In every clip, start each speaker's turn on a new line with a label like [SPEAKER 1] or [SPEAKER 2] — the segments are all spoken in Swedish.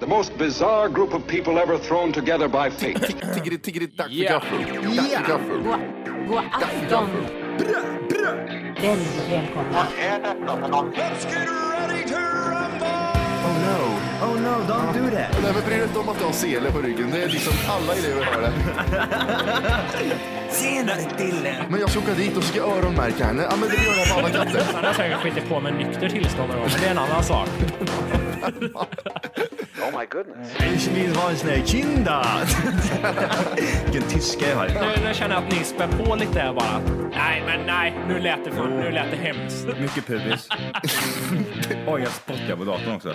[SPEAKER 1] The most bizarre group of people ever thrown together by fate.
[SPEAKER 2] Tiggeri, tiggeri, dack för
[SPEAKER 3] Yeah.
[SPEAKER 2] gaffel. Dack för gaffel.
[SPEAKER 4] God, god afton. Väldigt välkomna.
[SPEAKER 5] Oh no, oh no, don't do that.
[SPEAKER 2] Nej, men bry dig inte om att du har sele på ryggen. Det är liksom alla elever har det.
[SPEAKER 5] Senare Dille!
[SPEAKER 2] Men jag ska åka dit och ska öronmärka henne. Ja, men det gör jag på alla katter.
[SPEAKER 3] Han har säkert skitit på med nykter tillstånd någon gång, men det är en annan sak.
[SPEAKER 5] Ich vill vara en sån här kinda. Vilken tyska jag har.
[SPEAKER 3] Nu, nu känner jag att ni spär på lite här bara. Nej, men nej, nu lät det, fan, nu lät det hemskt.
[SPEAKER 6] Mycket pubis. Oj, jag spottar på datorn också.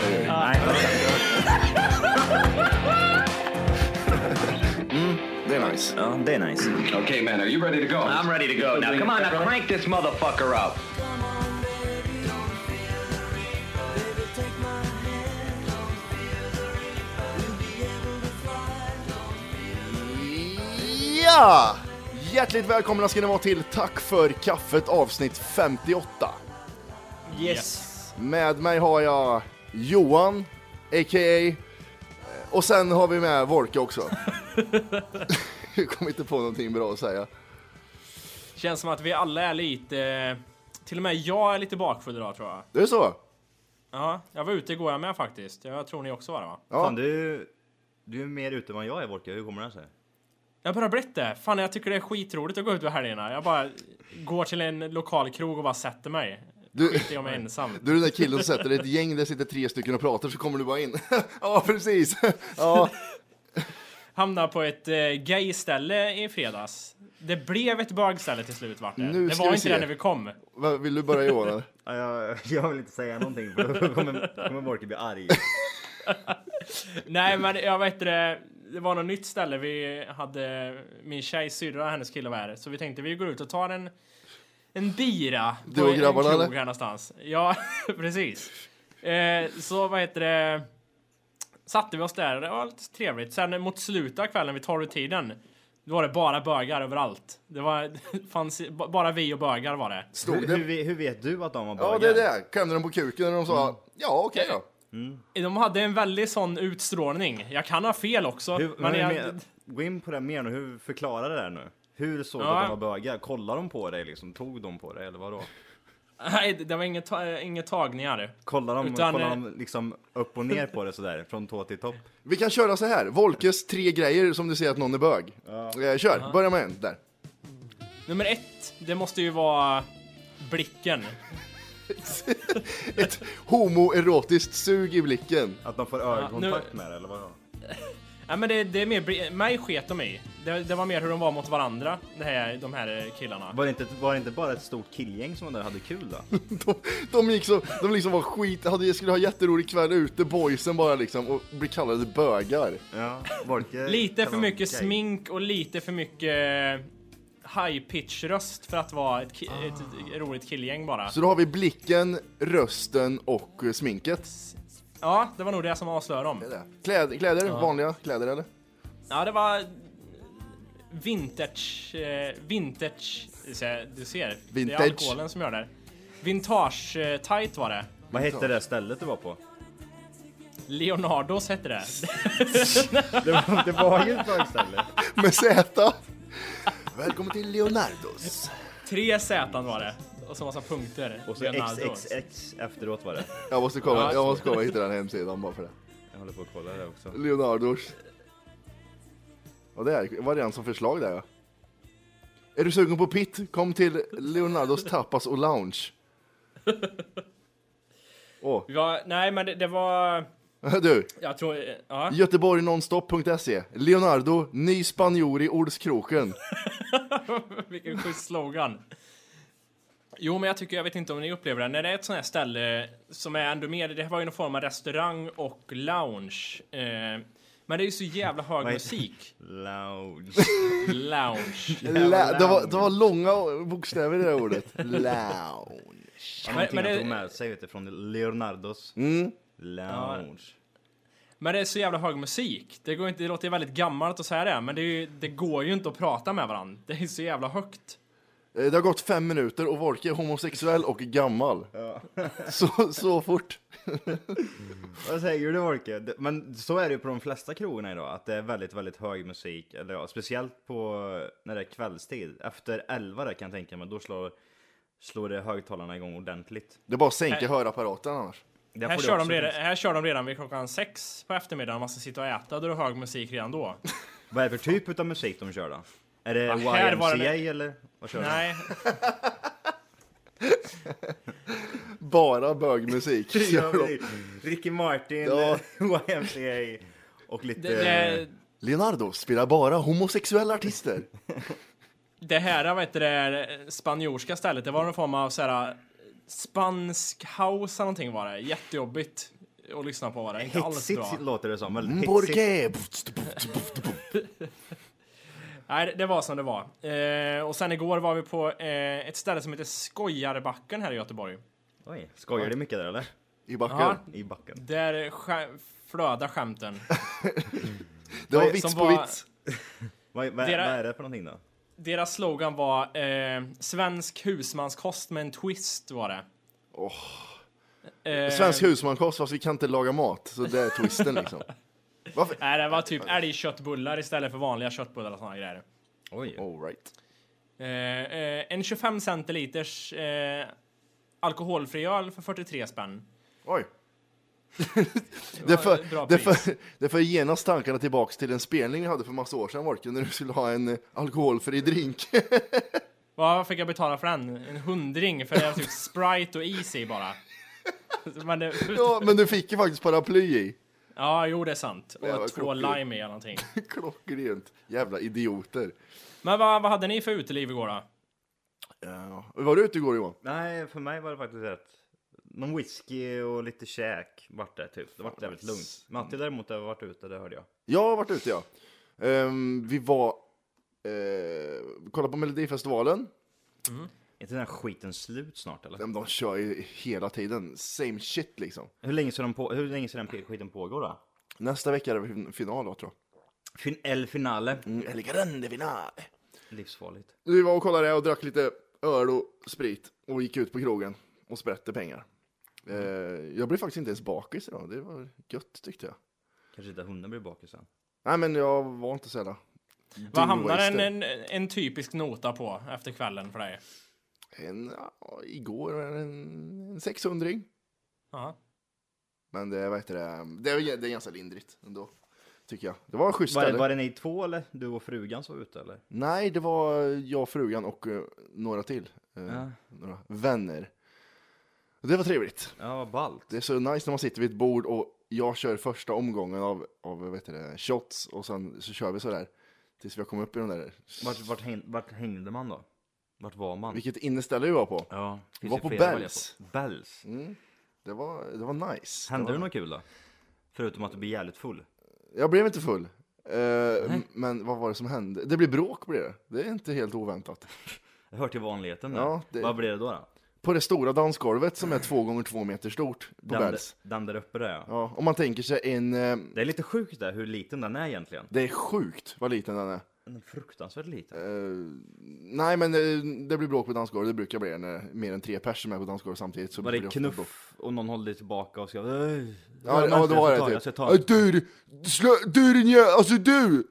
[SPEAKER 2] Det är nice.
[SPEAKER 6] Ja, det är nice.
[SPEAKER 1] okay, man, are you ready to go?
[SPEAKER 7] I'm ready to go now. Come on, now crank this motherfucker up.
[SPEAKER 2] Ja! Hjärtligt välkomna ska ni vara till Tack för kaffet avsnitt 58.
[SPEAKER 3] Yes.
[SPEAKER 2] Med mig har jag Johan, a.k.a. Och sen har vi med Volke också. Jag kom inte på någonting bra att säga.
[SPEAKER 3] Känns som att vi alla är lite... eh, Till och med jag är lite bakfull idag tror jag.
[SPEAKER 2] Det är så?
[SPEAKER 3] Ja, jag var ute igår jag med faktiskt. Jag tror ni också var det va?
[SPEAKER 2] Ja.
[SPEAKER 6] Fan, du, du är mer ute än vad jag är, Wolke. Hur kommer det sig?
[SPEAKER 3] Jag har bara blivit det. Fan, jag tycker det är skitroligt att gå ut på helgerna. Jag bara går till en lokal krog och bara sätter mig.
[SPEAKER 2] Du,
[SPEAKER 3] Skiter jag mig ensam.
[SPEAKER 2] du är den där killen som sätter dig i ett gäng där sitter tre stycken och pratar så kommer du bara in. ja, precis. ja.
[SPEAKER 3] Hamnade på ett eh, gay-ställe i fredags. Det blev ett bögställe till slut vart det.
[SPEAKER 2] Nu
[SPEAKER 3] det
[SPEAKER 2] ska
[SPEAKER 3] var
[SPEAKER 2] vi
[SPEAKER 3] inte
[SPEAKER 2] se.
[SPEAKER 3] det när vi kom.
[SPEAKER 2] Vad, Vill du börja Johan? eller?
[SPEAKER 6] Ja, jag, jag vill inte säga någonting för då kommer, kommer Wolke bli arg.
[SPEAKER 3] Nej, men jag vet det. Det var något nytt ställe. Vi hade min tjejs syrra och hennes kille var här. Så vi tänkte vi går ut och tar en, en bira.
[SPEAKER 2] Du
[SPEAKER 3] på
[SPEAKER 2] och
[SPEAKER 3] en
[SPEAKER 2] grabbarna,
[SPEAKER 3] krog
[SPEAKER 2] eller?
[SPEAKER 3] Här någonstans. Ja, precis. Eh, så vad heter det? Satte vi oss där. Det var lite trevligt. Sen mot slutet av kvällen, vid tolvtiden. Då var det bara bögar överallt. Det var, fanns ba- bara vi och bögar var det.
[SPEAKER 2] Stod
[SPEAKER 6] Hur, hur,
[SPEAKER 2] det?
[SPEAKER 6] vi- hur vet du att de var
[SPEAKER 2] Ja,
[SPEAKER 6] bögar?
[SPEAKER 2] det är det. Klämde de på kuken och de sa ja, okej då.
[SPEAKER 3] De hade en väldigt sån utstrålning. Jag kan ha fel också.
[SPEAKER 6] Hur, men
[SPEAKER 3] jag,
[SPEAKER 6] men, gå in på det mer nu. Hur förklarar det där nu? Hur såg du
[SPEAKER 3] Ja.
[SPEAKER 6] att de var bögar? Kollade de på dig liksom? Tog de på dig eller vadå?
[SPEAKER 3] nej, det var inget, ta- inget tagningar.
[SPEAKER 6] Kollade de,
[SPEAKER 3] Utan,
[SPEAKER 6] kollade
[SPEAKER 3] eh,
[SPEAKER 6] de liksom upp och ner på det sådär? Från tå till topp?
[SPEAKER 2] Vi kan köra så här. Volkes tre grejer som du ser att någon är bög. Eh, kör, börja med en. Där.
[SPEAKER 3] Nummer ett, det måste ju vara blicken.
[SPEAKER 2] Ett homoerotiskt sug i blicken.
[SPEAKER 6] Att de får ögonkontakt med det eller vadå?
[SPEAKER 3] Nej men det, det är mer, bli- mig sket de i. Det, det var mer hur de var mot varandra, det här, de här eh, killarna.
[SPEAKER 6] Var det, inte, var det inte bara ett stort killgäng som var där och hade kul då?
[SPEAKER 2] De, de gick så, de liksom var skit, hade, skulle ha jätterolig kväll ute, boysen bara liksom, och bli kallade bögar.
[SPEAKER 6] Ja, Wolke,
[SPEAKER 3] Lite
[SPEAKER 6] kan
[SPEAKER 3] för
[SPEAKER 6] vara
[SPEAKER 3] mycket
[SPEAKER 6] gay.
[SPEAKER 3] smink och lite för mycket high pitch röst för att vara ett, ki- ett roligt killgäng bara.
[SPEAKER 2] Så då har vi blicken, rösten och eh, sminket.
[SPEAKER 3] Ja, det var nog det som avslöjade dem.
[SPEAKER 2] Kläd, kläder, vanliga kläder eller?
[SPEAKER 3] Ja, det var vintage, eh, vintage, du ser.
[SPEAKER 2] Vintage.
[SPEAKER 3] Det är alkoholen som gör det. Vintage eh, tight var det.
[SPEAKER 6] Vad hette det stället du var på?
[SPEAKER 3] Leonardos hette det.
[SPEAKER 6] Det var, det var ju ett bögställe.
[SPEAKER 2] Med Z. Välkommen till Leonardos.
[SPEAKER 3] Tre Z var det. Och så massa punkter.
[SPEAKER 6] Och så
[SPEAKER 3] Leonardo.
[SPEAKER 6] XXX efteråt var det.
[SPEAKER 2] Jag måste kolla, jag måste kolla och hitta den här hemsidan bara för det.
[SPEAKER 6] Jag håller på att kolla det också.
[SPEAKER 2] Leonardos. Ja, det här var redan som förslag där ja. Är du sugen på pitt? Kom till Leonardos tapas och lounge. Åh,
[SPEAKER 3] Vi var, nej men det, det var...
[SPEAKER 2] du.
[SPEAKER 3] Jag tror... eh, Ja.
[SPEAKER 2] Göteborgnonstop.se E. Leonardo, ny spanjor i ordskroken.
[SPEAKER 3] Vilken schysst slogan. Jo men jag tycker, jag vet inte om ni upplever det, när det är ett sånt här ställe som är ändå mer, det här var ju någon form av restaurang och lounge. Eh, men det är ju så jävla hög
[SPEAKER 6] är-
[SPEAKER 3] musik.
[SPEAKER 6] Lounge.
[SPEAKER 3] Lounge.
[SPEAKER 2] Lä, det, var, det var långa bokstäver i det här ordet. Lounge.
[SPEAKER 6] Ja,
[SPEAKER 3] Men-
[SPEAKER 6] Någonting
[SPEAKER 3] men
[SPEAKER 6] han
[SPEAKER 3] det-
[SPEAKER 6] tog med sig vet du, från Leonardos. Lounge.
[SPEAKER 3] Men det är så jävla hög musik. Det, går inte, det låter ju väldigt gammalt att säga det, men det, är ju, det går ju inte att prata med varandra. Det är så jävla högt.
[SPEAKER 2] Eh, Det har gått fem minuter och Wolke är homosexuell och gammal. Så, så fort.
[SPEAKER 6] Vad säger du Volke? Det- Men så är det ju på de flesta krogarna idag, att det är väldigt, väldigt hög musik. Eller ja, speciellt på när det är kvällstid. Efter 11 där kan jag tänka mig, då slår, slår det högtalarna igång ordentligt.
[SPEAKER 2] Det är bara att sänka hörapparaten annars.
[SPEAKER 6] Där
[SPEAKER 3] Här
[SPEAKER 6] får det
[SPEAKER 3] kör, de
[SPEAKER 6] också
[SPEAKER 3] redan,
[SPEAKER 6] finnas.
[SPEAKER 3] här kör de redan vid klockan sex på eftermiddagen. Man ska sitta och äta. Då är det hög musik redan då.
[SPEAKER 6] Vad är det för typ av musik de kör då? Är det
[SPEAKER 3] här var
[SPEAKER 6] YMCA
[SPEAKER 3] det-
[SPEAKER 6] eller? Vad kör de?
[SPEAKER 3] Nej,
[SPEAKER 2] Bara bögmusik.
[SPEAKER 6] Ja, precis. Ricky Martin,
[SPEAKER 2] Ja.
[SPEAKER 6] YMCA och lite...
[SPEAKER 3] det, det,
[SPEAKER 2] Leonardo spelar bara homosexuella artister.
[SPEAKER 3] det här vad heter det, spanjorska stället, det var någon form av så här, spansk house eller någonting var det. Jättejobbigt att lyssna på var det. Inte alls bra.
[SPEAKER 6] Hitsigt låter det som,
[SPEAKER 2] Mm,
[SPEAKER 6] väldigt hitsigt.
[SPEAKER 2] Borge!
[SPEAKER 3] Nej, det- det var som det var. Eh, och sen igår var vi på eh, ett ställe som heter Skojarbacken här i Göteborg.
[SPEAKER 6] Oj, skojar du mycket där eller?
[SPEAKER 2] I backen.
[SPEAKER 3] Ja.
[SPEAKER 6] I backen?
[SPEAKER 3] Där skä- flödar skämten.
[SPEAKER 2] Det var
[SPEAKER 3] Som
[SPEAKER 2] vits på
[SPEAKER 3] var-
[SPEAKER 2] vits.
[SPEAKER 6] Vad, vad,
[SPEAKER 3] Dera-
[SPEAKER 6] vad är det för någonting då?
[SPEAKER 3] Deras slogan var eh, svensk husmanskost med en twist var det. Eh,
[SPEAKER 2] Svensk husmankost fast vi kan inte laga mat. Så det är twisten liksom. Varför?
[SPEAKER 3] Nej, det var typ älgköttbullar istället för vanliga köttbullar och såna grejer.
[SPEAKER 6] Oj.
[SPEAKER 2] All right.
[SPEAKER 3] Eh, eh, en 25 centiliters eh, alkoholfri öl för 43 spänn.
[SPEAKER 2] Oj. Det
[SPEAKER 3] bra
[SPEAKER 2] för, det,
[SPEAKER 3] pris.
[SPEAKER 2] för, det för genast tankarna tillbaks till en spelning vi hade för massa år sedan, Wolke, när du skulle ha en eh, alkoholfri drink.
[SPEAKER 3] Vad fick jag betala för den? En hundring för det var typ Sprite och is i bara. Men det,
[SPEAKER 2] Ja,
[SPEAKER 3] ja.
[SPEAKER 2] men du fick ju faktiskt paraply i.
[SPEAKER 3] jo det är sant.
[SPEAKER 2] Det var
[SPEAKER 3] Och två
[SPEAKER 2] klockrent.
[SPEAKER 3] lime i eller någonting.
[SPEAKER 2] Klockrent. Jävla idioter.
[SPEAKER 3] Men vad, vad hade ni för uteliv igår då?
[SPEAKER 2] Ja. Eh, Var du ute igår Johan?
[SPEAKER 6] Nej, för mig var det faktiskt rätt. Någon whisky och lite käk vart det typ. Det vart jävligt lugnt. Matti
[SPEAKER 2] Mm.
[SPEAKER 6] däremot har varit ute, det hörde jag.
[SPEAKER 2] Jag har varit ute ja. Ehm, vi var... Uh, kollade på Melodifestivalen. Ehm,
[SPEAKER 6] Är inte den här skiten slut snart eller?
[SPEAKER 2] De, de kör ju hela tiden. Same shit liksom.
[SPEAKER 6] Hur länge ska, de på, hur länge ska den pe- skiten pågå då?
[SPEAKER 2] Nästa vecka är det fin- final då tror
[SPEAKER 6] Fin, el finale.
[SPEAKER 2] jag. Mm, El grande final.
[SPEAKER 6] Livsfarligt.
[SPEAKER 2] Vi var och kollade det och drack lite öl och sprit och gick ut på krogen och sprätte pengar. Eh, jag blev faktiskt inte ens bakis idag. Det var gött tyckte jag.
[SPEAKER 6] Kanske inte hunden blir bakis sen.
[SPEAKER 2] Nej men jag var inte så jävla...
[SPEAKER 3] Vad hamnar en,
[SPEAKER 2] wasted.
[SPEAKER 3] en, en typisk nota på efter kvällen för dig?
[SPEAKER 2] En, ja, igår var det en, en 600
[SPEAKER 3] Ja.
[SPEAKER 2] Men det, vad heter det, det, är- det är ganska lindrigt ändå. Tycker jag. Det var schysst
[SPEAKER 6] Var,
[SPEAKER 2] ställe.
[SPEAKER 6] det- var det ni två eller? Du och frugan som var ute eller?
[SPEAKER 2] Nej, det var jag, frugan och eh, några till. Eh,
[SPEAKER 6] Ja.
[SPEAKER 2] Några vänner. Det var trevligt.
[SPEAKER 6] Ja, vad ballt.
[SPEAKER 2] Det är så nice när man sitter vid ett bord och jag kör första omgången av, av vad heter det, shots och sen så kör vi sådär. Tills vi har kommit upp i den där.
[SPEAKER 6] Vart, vart, häng, vart hängde man då? Vart var man?
[SPEAKER 2] Vilket inneställe vi var på.
[SPEAKER 6] Ja,
[SPEAKER 2] Vi
[SPEAKER 6] finns
[SPEAKER 2] var
[SPEAKER 6] ju
[SPEAKER 2] på
[SPEAKER 6] flera att välja
[SPEAKER 2] Bells.
[SPEAKER 6] på. Bells?
[SPEAKER 2] Det var, det var nice.
[SPEAKER 6] Hände
[SPEAKER 2] det
[SPEAKER 6] det
[SPEAKER 2] var...
[SPEAKER 6] något kul då? Förutom att du blir jävligt full?
[SPEAKER 2] Jag blev inte full. Eh, m- men vad var det som hände? Det blev bråk blev det. Det är inte helt oväntat.
[SPEAKER 6] Det hör till vanligheten där.
[SPEAKER 2] Ja, det-
[SPEAKER 6] Vad blir det då? då?
[SPEAKER 2] På det stora dansgolvet som är två gånger två meter stort på
[SPEAKER 6] Den,
[SPEAKER 2] Bells.
[SPEAKER 6] den där uppe där ja.
[SPEAKER 2] Ja, om man tänker sig en... eh,
[SPEAKER 6] Det är lite sjukt där hur liten den är egentligen.
[SPEAKER 2] Det är sjukt vad liten den är.
[SPEAKER 6] Den är fruktansvärt liten.
[SPEAKER 2] Eh, Nej men eh, det blir bråk på dansgolvet, det brukar bli det när det är mer än tre personer som är på dansgolvet samtidigt. Så
[SPEAKER 6] var
[SPEAKER 2] blir
[SPEAKER 6] det
[SPEAKER 2] ofta bråk.
[SPEAKER 6] knuff och någon håller dig tillbaka och ska... "Öj,
[SPEAKER 2] Ja, ja, det var det
[SPEAKER 6] Jag
[SPEAKER 2] typ.
[SPEAKER 6] ska ta
[SPEAKER 2] Äh, Du, slö, du din jä... Alltså du!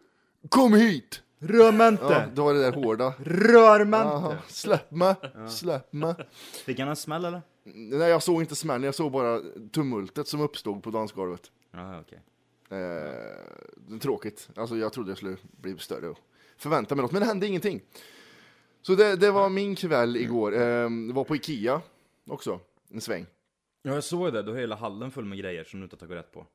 [SPEAKER 2] Kom hit!
[SPEAKER 6] Rör mig
[SPEAKER 2] Ja,
[SPEAKER 6] inte!
[SPEAKER 2] det var det där hårda.
[SPEAKER 6] Rör mig
[SPEAKER 2] Aha,
[SPEAKER 6] inte!
[SPEAKER 2] släpp mig, släpp mig.
[SPEAKER 6] Fick han en smäll eller?
[SPEAKER 2] Nej jag såg inte smällen, jag såg bara tumultet som uppstod på dansgolvet.
[SPEAKER 6] Ja, okej.
[SPEAKER 2] Eh, det är tråkigt. Alltså, jag trodde jag skulle bli större och förvänta mig något, men det hände ingenting. Så det, det var min kväll igår. Eh, det var på Ikea också, en sväng.
[SPEAKER 6] Ja, jag såg det. Du har hela hallen full med grejer som du inte har tagit rätt på.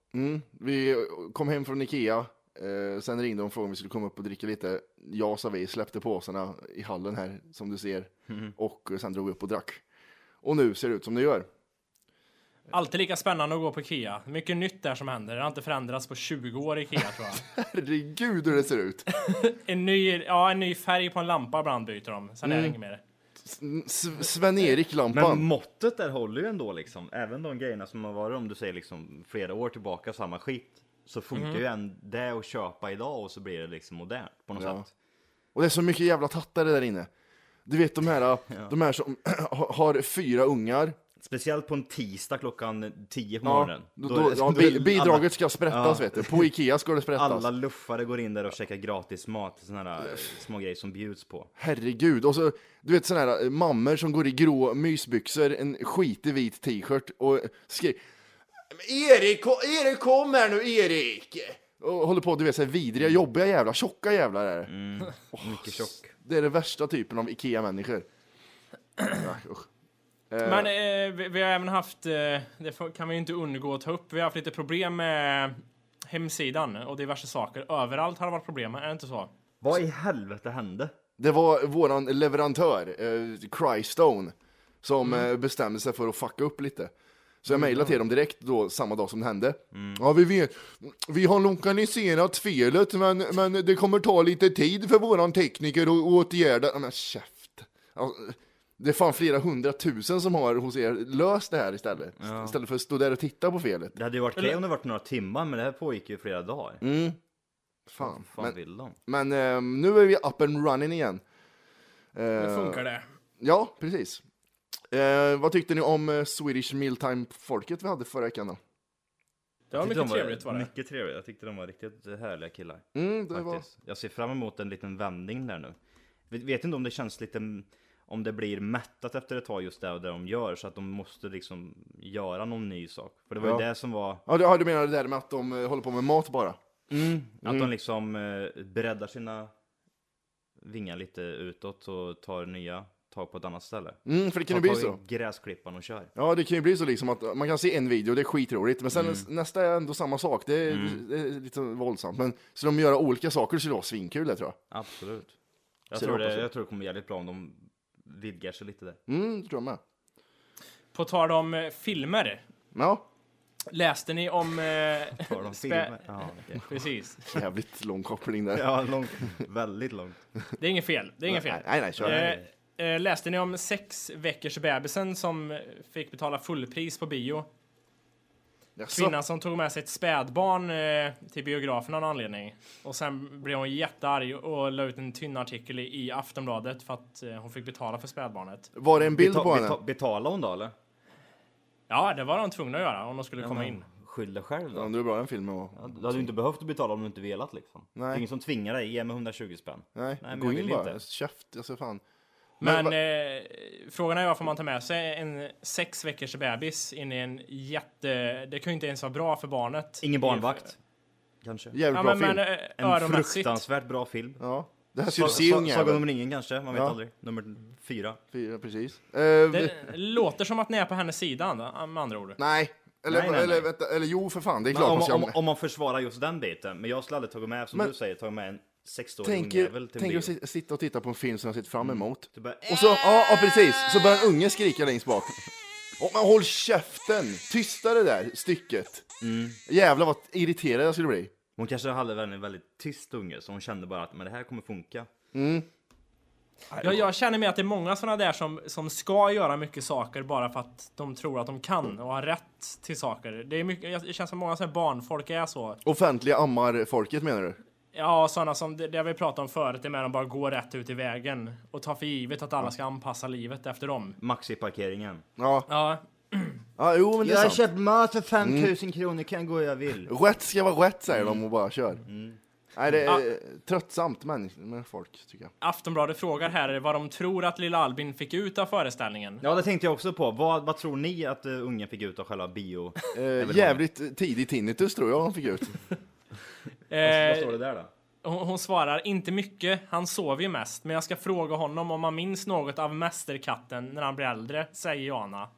[SPEAKER 2] Vi kom hem från Ikea, eh, sen ringde de och frågade om vi skulle komma upp och dricka lite. Jag sa vi, släppte påsarna i hallen här, som du ser. Och eh, sen drog vi upp och drack. Och nu ser det ut som det gör.
[SPEAKER 3] Alltid lika spännande att gå på Ikea. Mycket nytt där som händer. Det har inte förändrats på 20 år i Ikea tror jag.
[SPEAKER 2] Herregud hur det ser ut!
[SPEAKER 3] En ny, ja, en ny färg på en lampa ibland byter de. Sen är det inget mer.
[SPEAKER 2] S- Sven-Erik-lampan.
[SPEAKER 6] Men måttet där håller ju ändå liksom. Även de grejerna som har varit, om du säger liksom flera år tillbaka, samma skit. Så funkar
[SPEAKER 2] Mhm.
[SPEAKER 6] ju en det att köpa idag och så blir det liksom modernt på något
[SPEAKER 2] Ja.
[SPEAKER 6] sätt.
[SPEAKER 2] Och det är så mycket jävla tattare där inne. Du vet de här, de här som har fyra ungar.
[SPEAKER 6] Speciellt på en tisdag klockan 10 på
[SPEAKER 2] Ja,
[SPEAKER 6] morgonen.
[SPEAKER 2] då,
[SPEAKER 6] är
[SPEAKER 2] då,
[SPEAKER 6] det-
[SPEAKER 2] ja,
[SPEAKER 6] då är
[SPEAKER 2] bi-
[SPEAKER 6] alla-
[SPEAKER 2] bidraget ska sprättas vet du. På Ikea ska det sprättas.
[SPEAKER 6] Alla luffare går in där och käkar gratis mat, såna här eh, små grejer som bjuds på.
[SPEAKER 2] Herregud. Och så, du vet sådana här eh, mammor som går i grå mysbyxor, en skitig vit t-shirt och skriker Erik, ko- Erik kom här nu Erik! Och håller på, du vet såhär vidriga,
[SPEAKER 6] Mm.
[SPEAKER 2] jobbiga jävlar, tjocka jävlar är det. Oh,
[SPEAKER 6] Mycket tjock.
[SPEAKER 2] Det är den värsta typen av Ikea-människor. Ja, usch.
[SPEAKER 3] Men eh, vi, vi har även haft, eh, det får- kan vi ju inte undgå att ta upp, vi har haft lite problem med hemsidan och diverse saker. Överallt har det varit problem, är det inte så?
[SPEAKER 6] Vad i helvete hände?
[SPEAKER 2] Det var våran leverantör, eh, Crystone, som eh, bestämde sig för att fucka upp lite. Så jag mejlade till dem direkt då, samma dag som det hände. Ja, vi vet. Vi har lokaliserat felet, men, men det kommer ta lite tid för våran tekniker att åtgärda. Ja, Men käft. Alltså, det är fan flera hundratusen som har hos er löst det här istället. Istället för att stå där och titta på felet.
[SPEAKER 6] Det hade ju varit okej om det varit några timmar, men det här pågick ju i flera dagar.
[SPEAKER 2] Fan.
[SPEAKER 6] fan vill de?
[SPEAKER 2] Men eh, nu är vi up and running igen. Eh.
[SPEAKER 3] Hur funkar det?
[SPEAKER 2] Ja, precis. Eh, vad tyckte ni om eh, Swedish Mealtime-folket vi hade förra veckan då?
[SPEAKER 3] Det var
[SPEAKER 6] Jag tyckte
[SPEAKER 3] mycket
[SPEAKER 6] de
[SPEAKER 3] trevligt var det.
[SPEAKER 6] Mycket trevligt. Jag tyckte de var riktigt härliga killar.
[SPEAKER 2] Mm, det var...
[SPEAKER 6] faktiskt. Jag ser fram emot en liten vändning där nu. Vet, vet inte om det känns lite... Om det blir mättat efter ett tag just det, och det de gör så att de måste liksom göra någon ny sak. För det var ju
[SPEAKER 2] Ja.
[SPEAKER 6] det som var...
[SPEAKER 2] Ja, du, ja, du menar det där med att de eh, håller på med mat bara? Mm,
[SPEAKER 6] Att de liksom eh, breddar sina vingar lite utåt och tar nya tag på ett annat ställe.
[SPEAKER 2] Mm, för det kan ju bli
[SPEAKER 6] De tar ju
[SPEAKER 2] så.
[SPEAKER 6] gräsklippan och kör.
[SPEAKER 2] Ja, det kan ju bli så liksom att man kan se en video, det är skitroligt, men sen nästa är ändå samma sak, det är, det är lite våldsamt. Men, så de gör olika saker så det var svinkul det tror
[SPEAKER 6] Absolut. Jag
[SPEAKER 2] Så jag
[SPEAKER 6] tror,
[SPEAKER 2] hoppas
[SPEAKER 6] det,
[SPEAKER 2] det.
[SPEAKER 6] jag tror det kommer bli jävligt bra om de vidgar sig lite där.
[SPEAKER 2] jag. Mm, det tror jag med.
[SPEAKER 3] På tal om eh, filmer,
[SPEAKER 2] Ja,
[SPEAKER 3] läste ni om... eh,
[SPEAKER 6] Tar de
[SPEAKER 3] spä-
[SPEAKER 6] filmer? Ja, okej.
[SPEAKER 3] Precis.
[SPEAKER 2] jävligt lång koppling där.
[SPEAKER 6] ja långt, väldigt långt.
[SPEAKER 3] Det är inget fel. Det är inget fel.
[SPEAKER 2] Nej, nej, nej, kör.
[SPEAKER 3] Eh, eh, läste ni om sex veckors bebisen som eh, fick betala fullpris på bio?
[SPEAKER 2] Jaså?
[SPEAKER 3] Kvinnan som tog med sig ett spädbarn eh, till biografen av någon anledning. Och sen blev hon jättearg och la ut en tynn artikel i, i Aftonbladet för att eh, hon fick betala för spädbarnet.
[SPEAKER 2] Var det en bild
[SPEAKER 6] Beta-
[SPEAKER 2] på henne?
[SPEAKER 6] beta- betala hon då eller?
[SPEAKER 3] Ja, det var de tvungna att göra om de skulle komma in.
[SPEAKER 6] Skyll dig själv
[SPEAKER 2] Ja,
[SPEAKER 6] då.
[SPEAKER 2] det är bra den filmen. Och...
[SPEAKER 6] Ja, Du hade ju inte behövt att betala om du inte velat liksom.
[SPEAKER 2] Nej.
[SPEAKER 6] Det är ingen som tvingar dig, ge mig 120 spänn.
[SPEAKER 2] Nej,
[SPEAKER 6] men
[SPEAKER 2] gå
[SPEAKER 6] jag
[SPEAKER 2] in
[SPEAKER 6] vill
[SPEAKER 2] bara.
[SPEAKER 6] inte.
[SPEAKER 2] Käft, alltså fan.
[SPEAKER 3] Men
[SPEAKER 2] va-
[SPEAKER 3] eh, frågan är varför man tar med sig en sex veckors bebis in i en jätte... Det kan ju inte ens vara bra för barnet.
[SPEAKER 6] Ingen barnvakt. Kanske.
[SPEAKER 2] Jävligt
[SPEAKER 3] Ja,
[SPEAKER 2] bra
[SPEAKER 3] men,
[SPEAKER 2] film.
[SPEAKER 3] men eh,
[SPEAKER 6] En
[SPEAKER 3] öronmässigt.
[SPEAKER 6] fruktansvärt bra film.
[SPEAKER 2] Ja, det här
[SPEAKER 6] Sa-
[SPEAKER 2] ska du se
[SPEAKER 6] sa- Sagan
[SPEAKER 2] ungjävel.
[SPEAKER 6] om ringen kanske, man vet
[SPEAKER 2] Ja.
[SPEAKER 6] aldrig. Nummer fyra.
[SPEAKER 2] Fyra, precis. Eh,
[SPEAKER 3] Det låter som att ni är på hennes sida med andra ord.
[SPEAKER 2] Nej. Eller,
[SPEAKER 6] Nej, nej, nej.
[SPEAKER 2] eller, vänta, eller jo, för fan, det är klart man
[SPEAKER 6] om,
[SPEAKER 2] ska ha
[SPEAKER 6] om,
[SPEAKER 2] med.
[SPEAKER 6] om man försvarar just den biten, men jag skulle aldrig tagit med, som
[SPEAKER 2] Men-
[SPEAKER 6] du säger, tagit med en 16-årig
[SPEAKER 2] Tänk
[SPEAKER 6] ungjävel
[SPEAKER 2] er-
[SPEAKER 6] till
[SPEAKER 2] tänk
[SPEAKER 6] Mm. bio.
[SPEAKER 2] er att si- sitta och titta på en film som jag sett fram emot.
[SPEAKER 6] Du bara, "Äh!"
[SPEAKER 2] Och så, ja, ja precis, så börjar en unge skrika längst bak. Oh, men håll käften! Tysta det där stycket.
[SPEAKER 6] Mm.
[SPEAKER 2] Jävlar vad irriterad jag skulle bli.
[SPEAKER 6] Hon kanske hade en väldigt tyst unge, så hon kände bara att men det här kommer funka.
[SPEAKER 3] Jag, jag känner mig att det är många sådana där som, som ska göra mycket saker bara för att de tror att de
[SPEAKER 6] Mm.
[SPEAKER 3] kan och har rätt till saker. Det, är mycket, jag- det känns som många sådana här barnfolk är så.
[SPEAKER 2] Offentliga ammar-folket menar du?
[SPEAKER 3] Ja, sådana som det, det vi pratade om förut, det är med de bara går rätt ut i vägen och tar för givet att alla ska anpassa livet efter dem.
[SPEAKER 6] Maxi-parkeringen.
[SPEAKER 2] Ja,
[SPEAKER 3] Ja,
[SPEAKER 2] ja jo men det är sant.
[SPEAKER 6] mat för 5000 kronor, kan jag gå jag vill.
[SPEAKER 2] Rätt ska vara rätt säger de och bara kör.
[SPEAKER 6] Mm.
[SPEAKER 2] Nej, det är eh, tröttsamt men, med folk tycker jag.
[SPEAKER 3] Aftonbladet frågar här vad de tror att lilla Albin fick ut av föreställningen.
[SPEAKER 6] Ja, det tänkte jag också på. Vad, vad tror ni att uh, ungen fick ut av själva bio?
[SPEAKER 2] Eh, jävligt tidig tinnitus tror jag han fick ut.
[SPEAKER 6] Vad
[SPEAKER 3] Eh,
[SPEAKER 6] står det där då?
[SPEAKER 3] hon, hon svarar inte mycket, han sover ju mest, men jag ska fråga honom om han minns något av Mästerkatten när han blir äldre, säger Jana.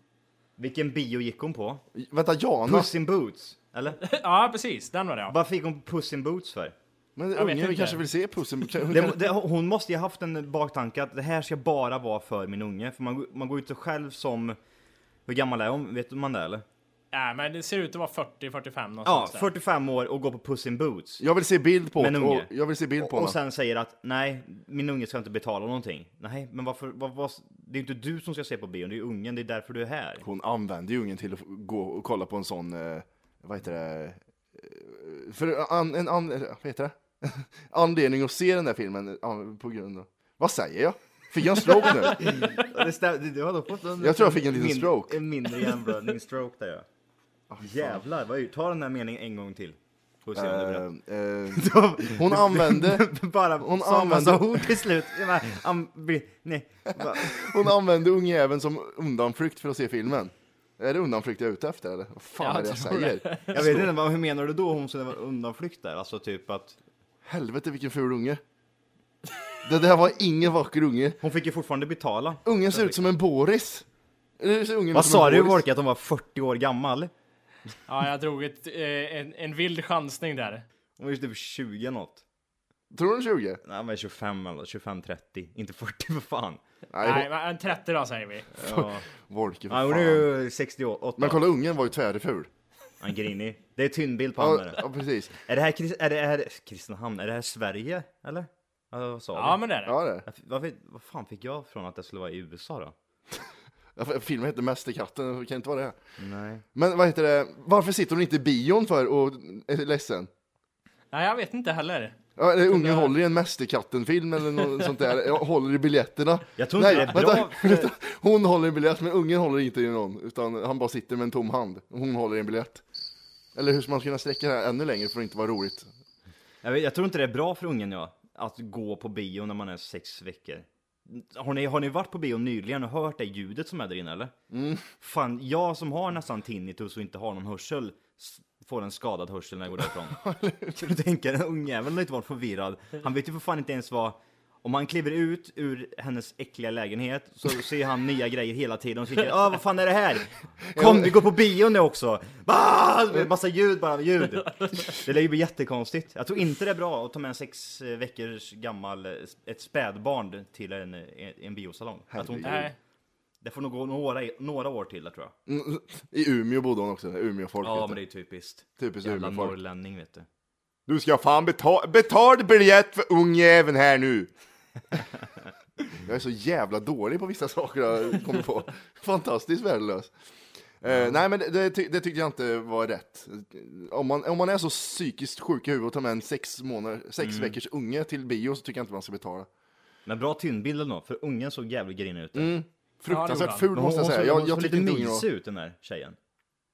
[SPEAKER 6] Vilken bio gick hon på?
[SPEAKER 2] Vänta, Jana?
[SPEAKER 6] Puss in Boots? Eller?
[SPEAKER 3] Ja, precis. Den var det. ja.
[SPEAKER 6] Vad fick hon Puss in Boots för?
[SPEAKER 2] Men
[SPEAKER 3] vet
[SPEAKER 2] ungen
[SPEAKER 3] inte.
[SPEAKER 2] kanske vill se pussen. Hon kan-
[SPEAKER 6] Det, det, hon måste ju haft en baktanke att det här ska bara vara för min unge. För man, går- man går ju inte själv som... Hur gammal är hon? Vet man det eller?
[SPEAKER 3] Nej, men det ser ut att vara 40-45
[SPEAKER 6] Ja,
[SPEAKER 3] någonstans där.
[SPEAKER 6] 45 år och går på Puss in Boots.
[SPEAKER 2] Jag vill se bild på
[SPEAKER 6] Men
[SPEAKER 2] det,
[SPEAKER 6] unge.
[SPEAKER 2] och Jag vill se bild på
[SPEAKER 6] Och
[SPEAKER 2] honom.
[SPEAKER 6] sen säger att nej, min unge ska inte betala någonting. Nej, men varför? Vad, vad, det är ju inte du som ska se på bion, det är ju ungen, det är därför du är här.
[SPEAKER 2] Hon använder ju ungen till att gå och kolla på en sån, eh, vad heter det? Eh, För an, en an, vad heter det? Anledning att se den där filmen eh, an- på grund av... Vad säger jag? Fick jag en stroke nu?
[SPEAKER 6] Det stäm- du- du har dock fått en,
[SPEAKER 2] Jag tror jag fick en liten
[SPEAKER 6] min-
[SPEAKER 2] stroke.
[SPEAKER 6] En mindre hjärnblödningsstroke där ja. Jävlar, vad är- ta den där meningen en gång till. Får vi se om det blir rätt.
[SPEAKER 2] Eh, eh, hon använde,
[SPEAKER 6] Bara
[SPEAKER 2] hon
[SPEAKER 6] samma
[SPEAKER 2] använder-
[SPEAKER 6] ord till slut. Jag bara, am- bli- Nej. Va-
[SPEAKER 2] hon använde ungjäveln som undanflykt för att se filmen. Är det undanflykt jag är ute efter eller? Vad fan
[SPEAKER 3] Jag
[SPEAKER 2] är det jag
[SPEAKER 3] tror det.
[SPEAKER 2] säger?
[SPEAKER 6] Jag vet inte, vad- hur menar du då hon skulle vara undanflykt där? Alltså typ att
[SPEAKER 2] Helvete vilken ful unge. Det där var ingen vacker unge.
[SPEAKER 6] hon fick ju fortfarande betala.
[SPEAKER 2] Ungen ser ut som en Boris. Eller hur ser ungen
[SPEAKER 6] Vad
[SPEAKER 2] ut som en
[SPEAKER 6] sa du
[SPEAKER 2] Boris?
[SPEAKER 6] Wolke att hon var 40 år gammal?
[SPEAKER 3] Ja, jag drog ett, eh, en, en vild chansning där.
[SPEAKER 6] Hon var ju typ 20 något.
[SPEAKER 2] Tror du hon är 20?
[SPEAKER 6] Nej men 25 eller 25-30, inte 40 för fan.
[SPEAKER 3] Nej,
[SPEAKER 2] Nej,
[SPEAKER 3] men en 30 då säger vi.
[SPEAKER 6] Ja.
[SPEAKER 2] Wolke
[SPEAKER 6] Ja,
[SPEAKER 2] för
[SPEAKER 6] hon
[SPEAKER 2] fan.
[SPEAKER 6] är ju 68.
[SPEAKER 2] Men kolla ungen var ju tvärful.
[SPEAKER 6] Han är grinig. Det är tynnbild på honom.
[SPEAKER 2] Ja,
[SPEAKER 6] är det.
[SPEAKER 2] ja precis.
[SPEAKER 6] Är det här, Kris- är det här Kristinehamn? Är det här Sverige? Eller? Alltså, vad sa
[SPEAKER 3] Ja,
[SPEAKER 6] vi?
[SPEAKER 3] men det är det.
[SPEAKER 2] Ja det är det.
[SPEAKER 6] Varför- Varför, vad fan fick jag från att det skulle vara i USA då?
[SPEAKER 2] Ja, Filmen heter Mästerkatten, det kan inte vara det.
[SPEAKER 6] Nej.
[SPEAKER 2] Men vad heter det, varför sitter hon inte i bion för och är ledsen?
[SPEAKER 3] Nej, jag vet inte heller.
[SPEAKER 2] Ja, eller ungen håller i en Mästerkatten-film eller något sånt där, Ja, håller i biljetterna.
[SPEAKER 6] Jag tror inte det är bra för-
[SPEAKER 2] vänta. Hon håller i en biljett, men ungen håller inte i någon, utan han bara sitter med en tom hand. Hon håller i en biljett. Eller hur ska man kunna sträcka det här ännu längre för att inte vara roligt?
[SPEAKER 6] Jag, vet, jag tror inte det är bra för ungen ja, att gå på bio när man är sex veckor. Har ni, har ni varit på bio nyligen och hört det ljudet som är där inne eller? Fan, jag som har nästan tinnitus och inte har någon hörsel s- får en skadad hörsel när jag går därifrån. kan du tänka dig, ungjäveln har inte varit förvirrad. Han vet ju för fan inte ens vad... Om han kliver ut ur hennes äckliga lägenhet så ser han nya grejer hela tiden och så tänker ah, vad fan är det här? Kom, vi går på bio nu också! Ah, massa ljud bara, ljud! Det lär ju bli jättekonstigt. Jag tror inte det är bra att ta med en sex eh, veckors gammal, eh, ett spädbarn till en, eh, en biosalong. Jag tror inte det.
[SPEAKER 3] Nej.
[SPEAKER 6] Det får nog gå några, några år till, jag tror jag.
[SPEAKER 2] Mm, I Umeå bodde hon också, Umeåfolk
[SPEAKER 6] Ja,
[SPEAKER 2] heter
[SPEAKER 6] men det
[SPEAKER 2] det.
[SPEAKER 6] är typiskt.
[SPEAKER 2] Typiskt
[SPEAKER 6] Jävla
[SPEAKER 2] Umeåfolk.
[SPEAKER 6] norrlänning, vet du.
[SPEAKER 2] Du ska fan betala, betald biljett för ungjäveln här nu! Jag är så jävla dålig på vissa saker jag kommer på. Fantastiskt värdelös. Eh, nej men det, det, ty- det tyckte jag inte var rätt. Om man, om man är så psykiskt sjuk i huvudet och tar med en sex, månader, sex
[SPEAKER 6] Mm.
[SPEAKER 2] veckors unge till bio så tycker jag inte man ska betala.
[SPEAKER 6] Men bra tynnbild eller något, för ungen såg jävligt grinig ut.
[SPEAKER 2] Fruktansvärt
[SPEAKER 3] Ja, det gjorde
[SPEAKER 2] ful
[SPEAKER 6] Men
[SPEAKER 2] Mm, måste jag
[SPEAKER 6] hon
[SPEAKER 2] säga.
[SPEAKER 6] såg-
[SPEAKER 2] Jag,
[SPEAKER 6] hon
[SPEAKER 2] jag
[SPEAKER 6] såg
[SPEAKER 2] tyckte
[SPEAKER 6] lite
[SPEAKER 2] inte ungen
[SPEAKER 6] mysig
[SPEAKER 2] var...
[SPEAKER 6] ut, den där tjejen.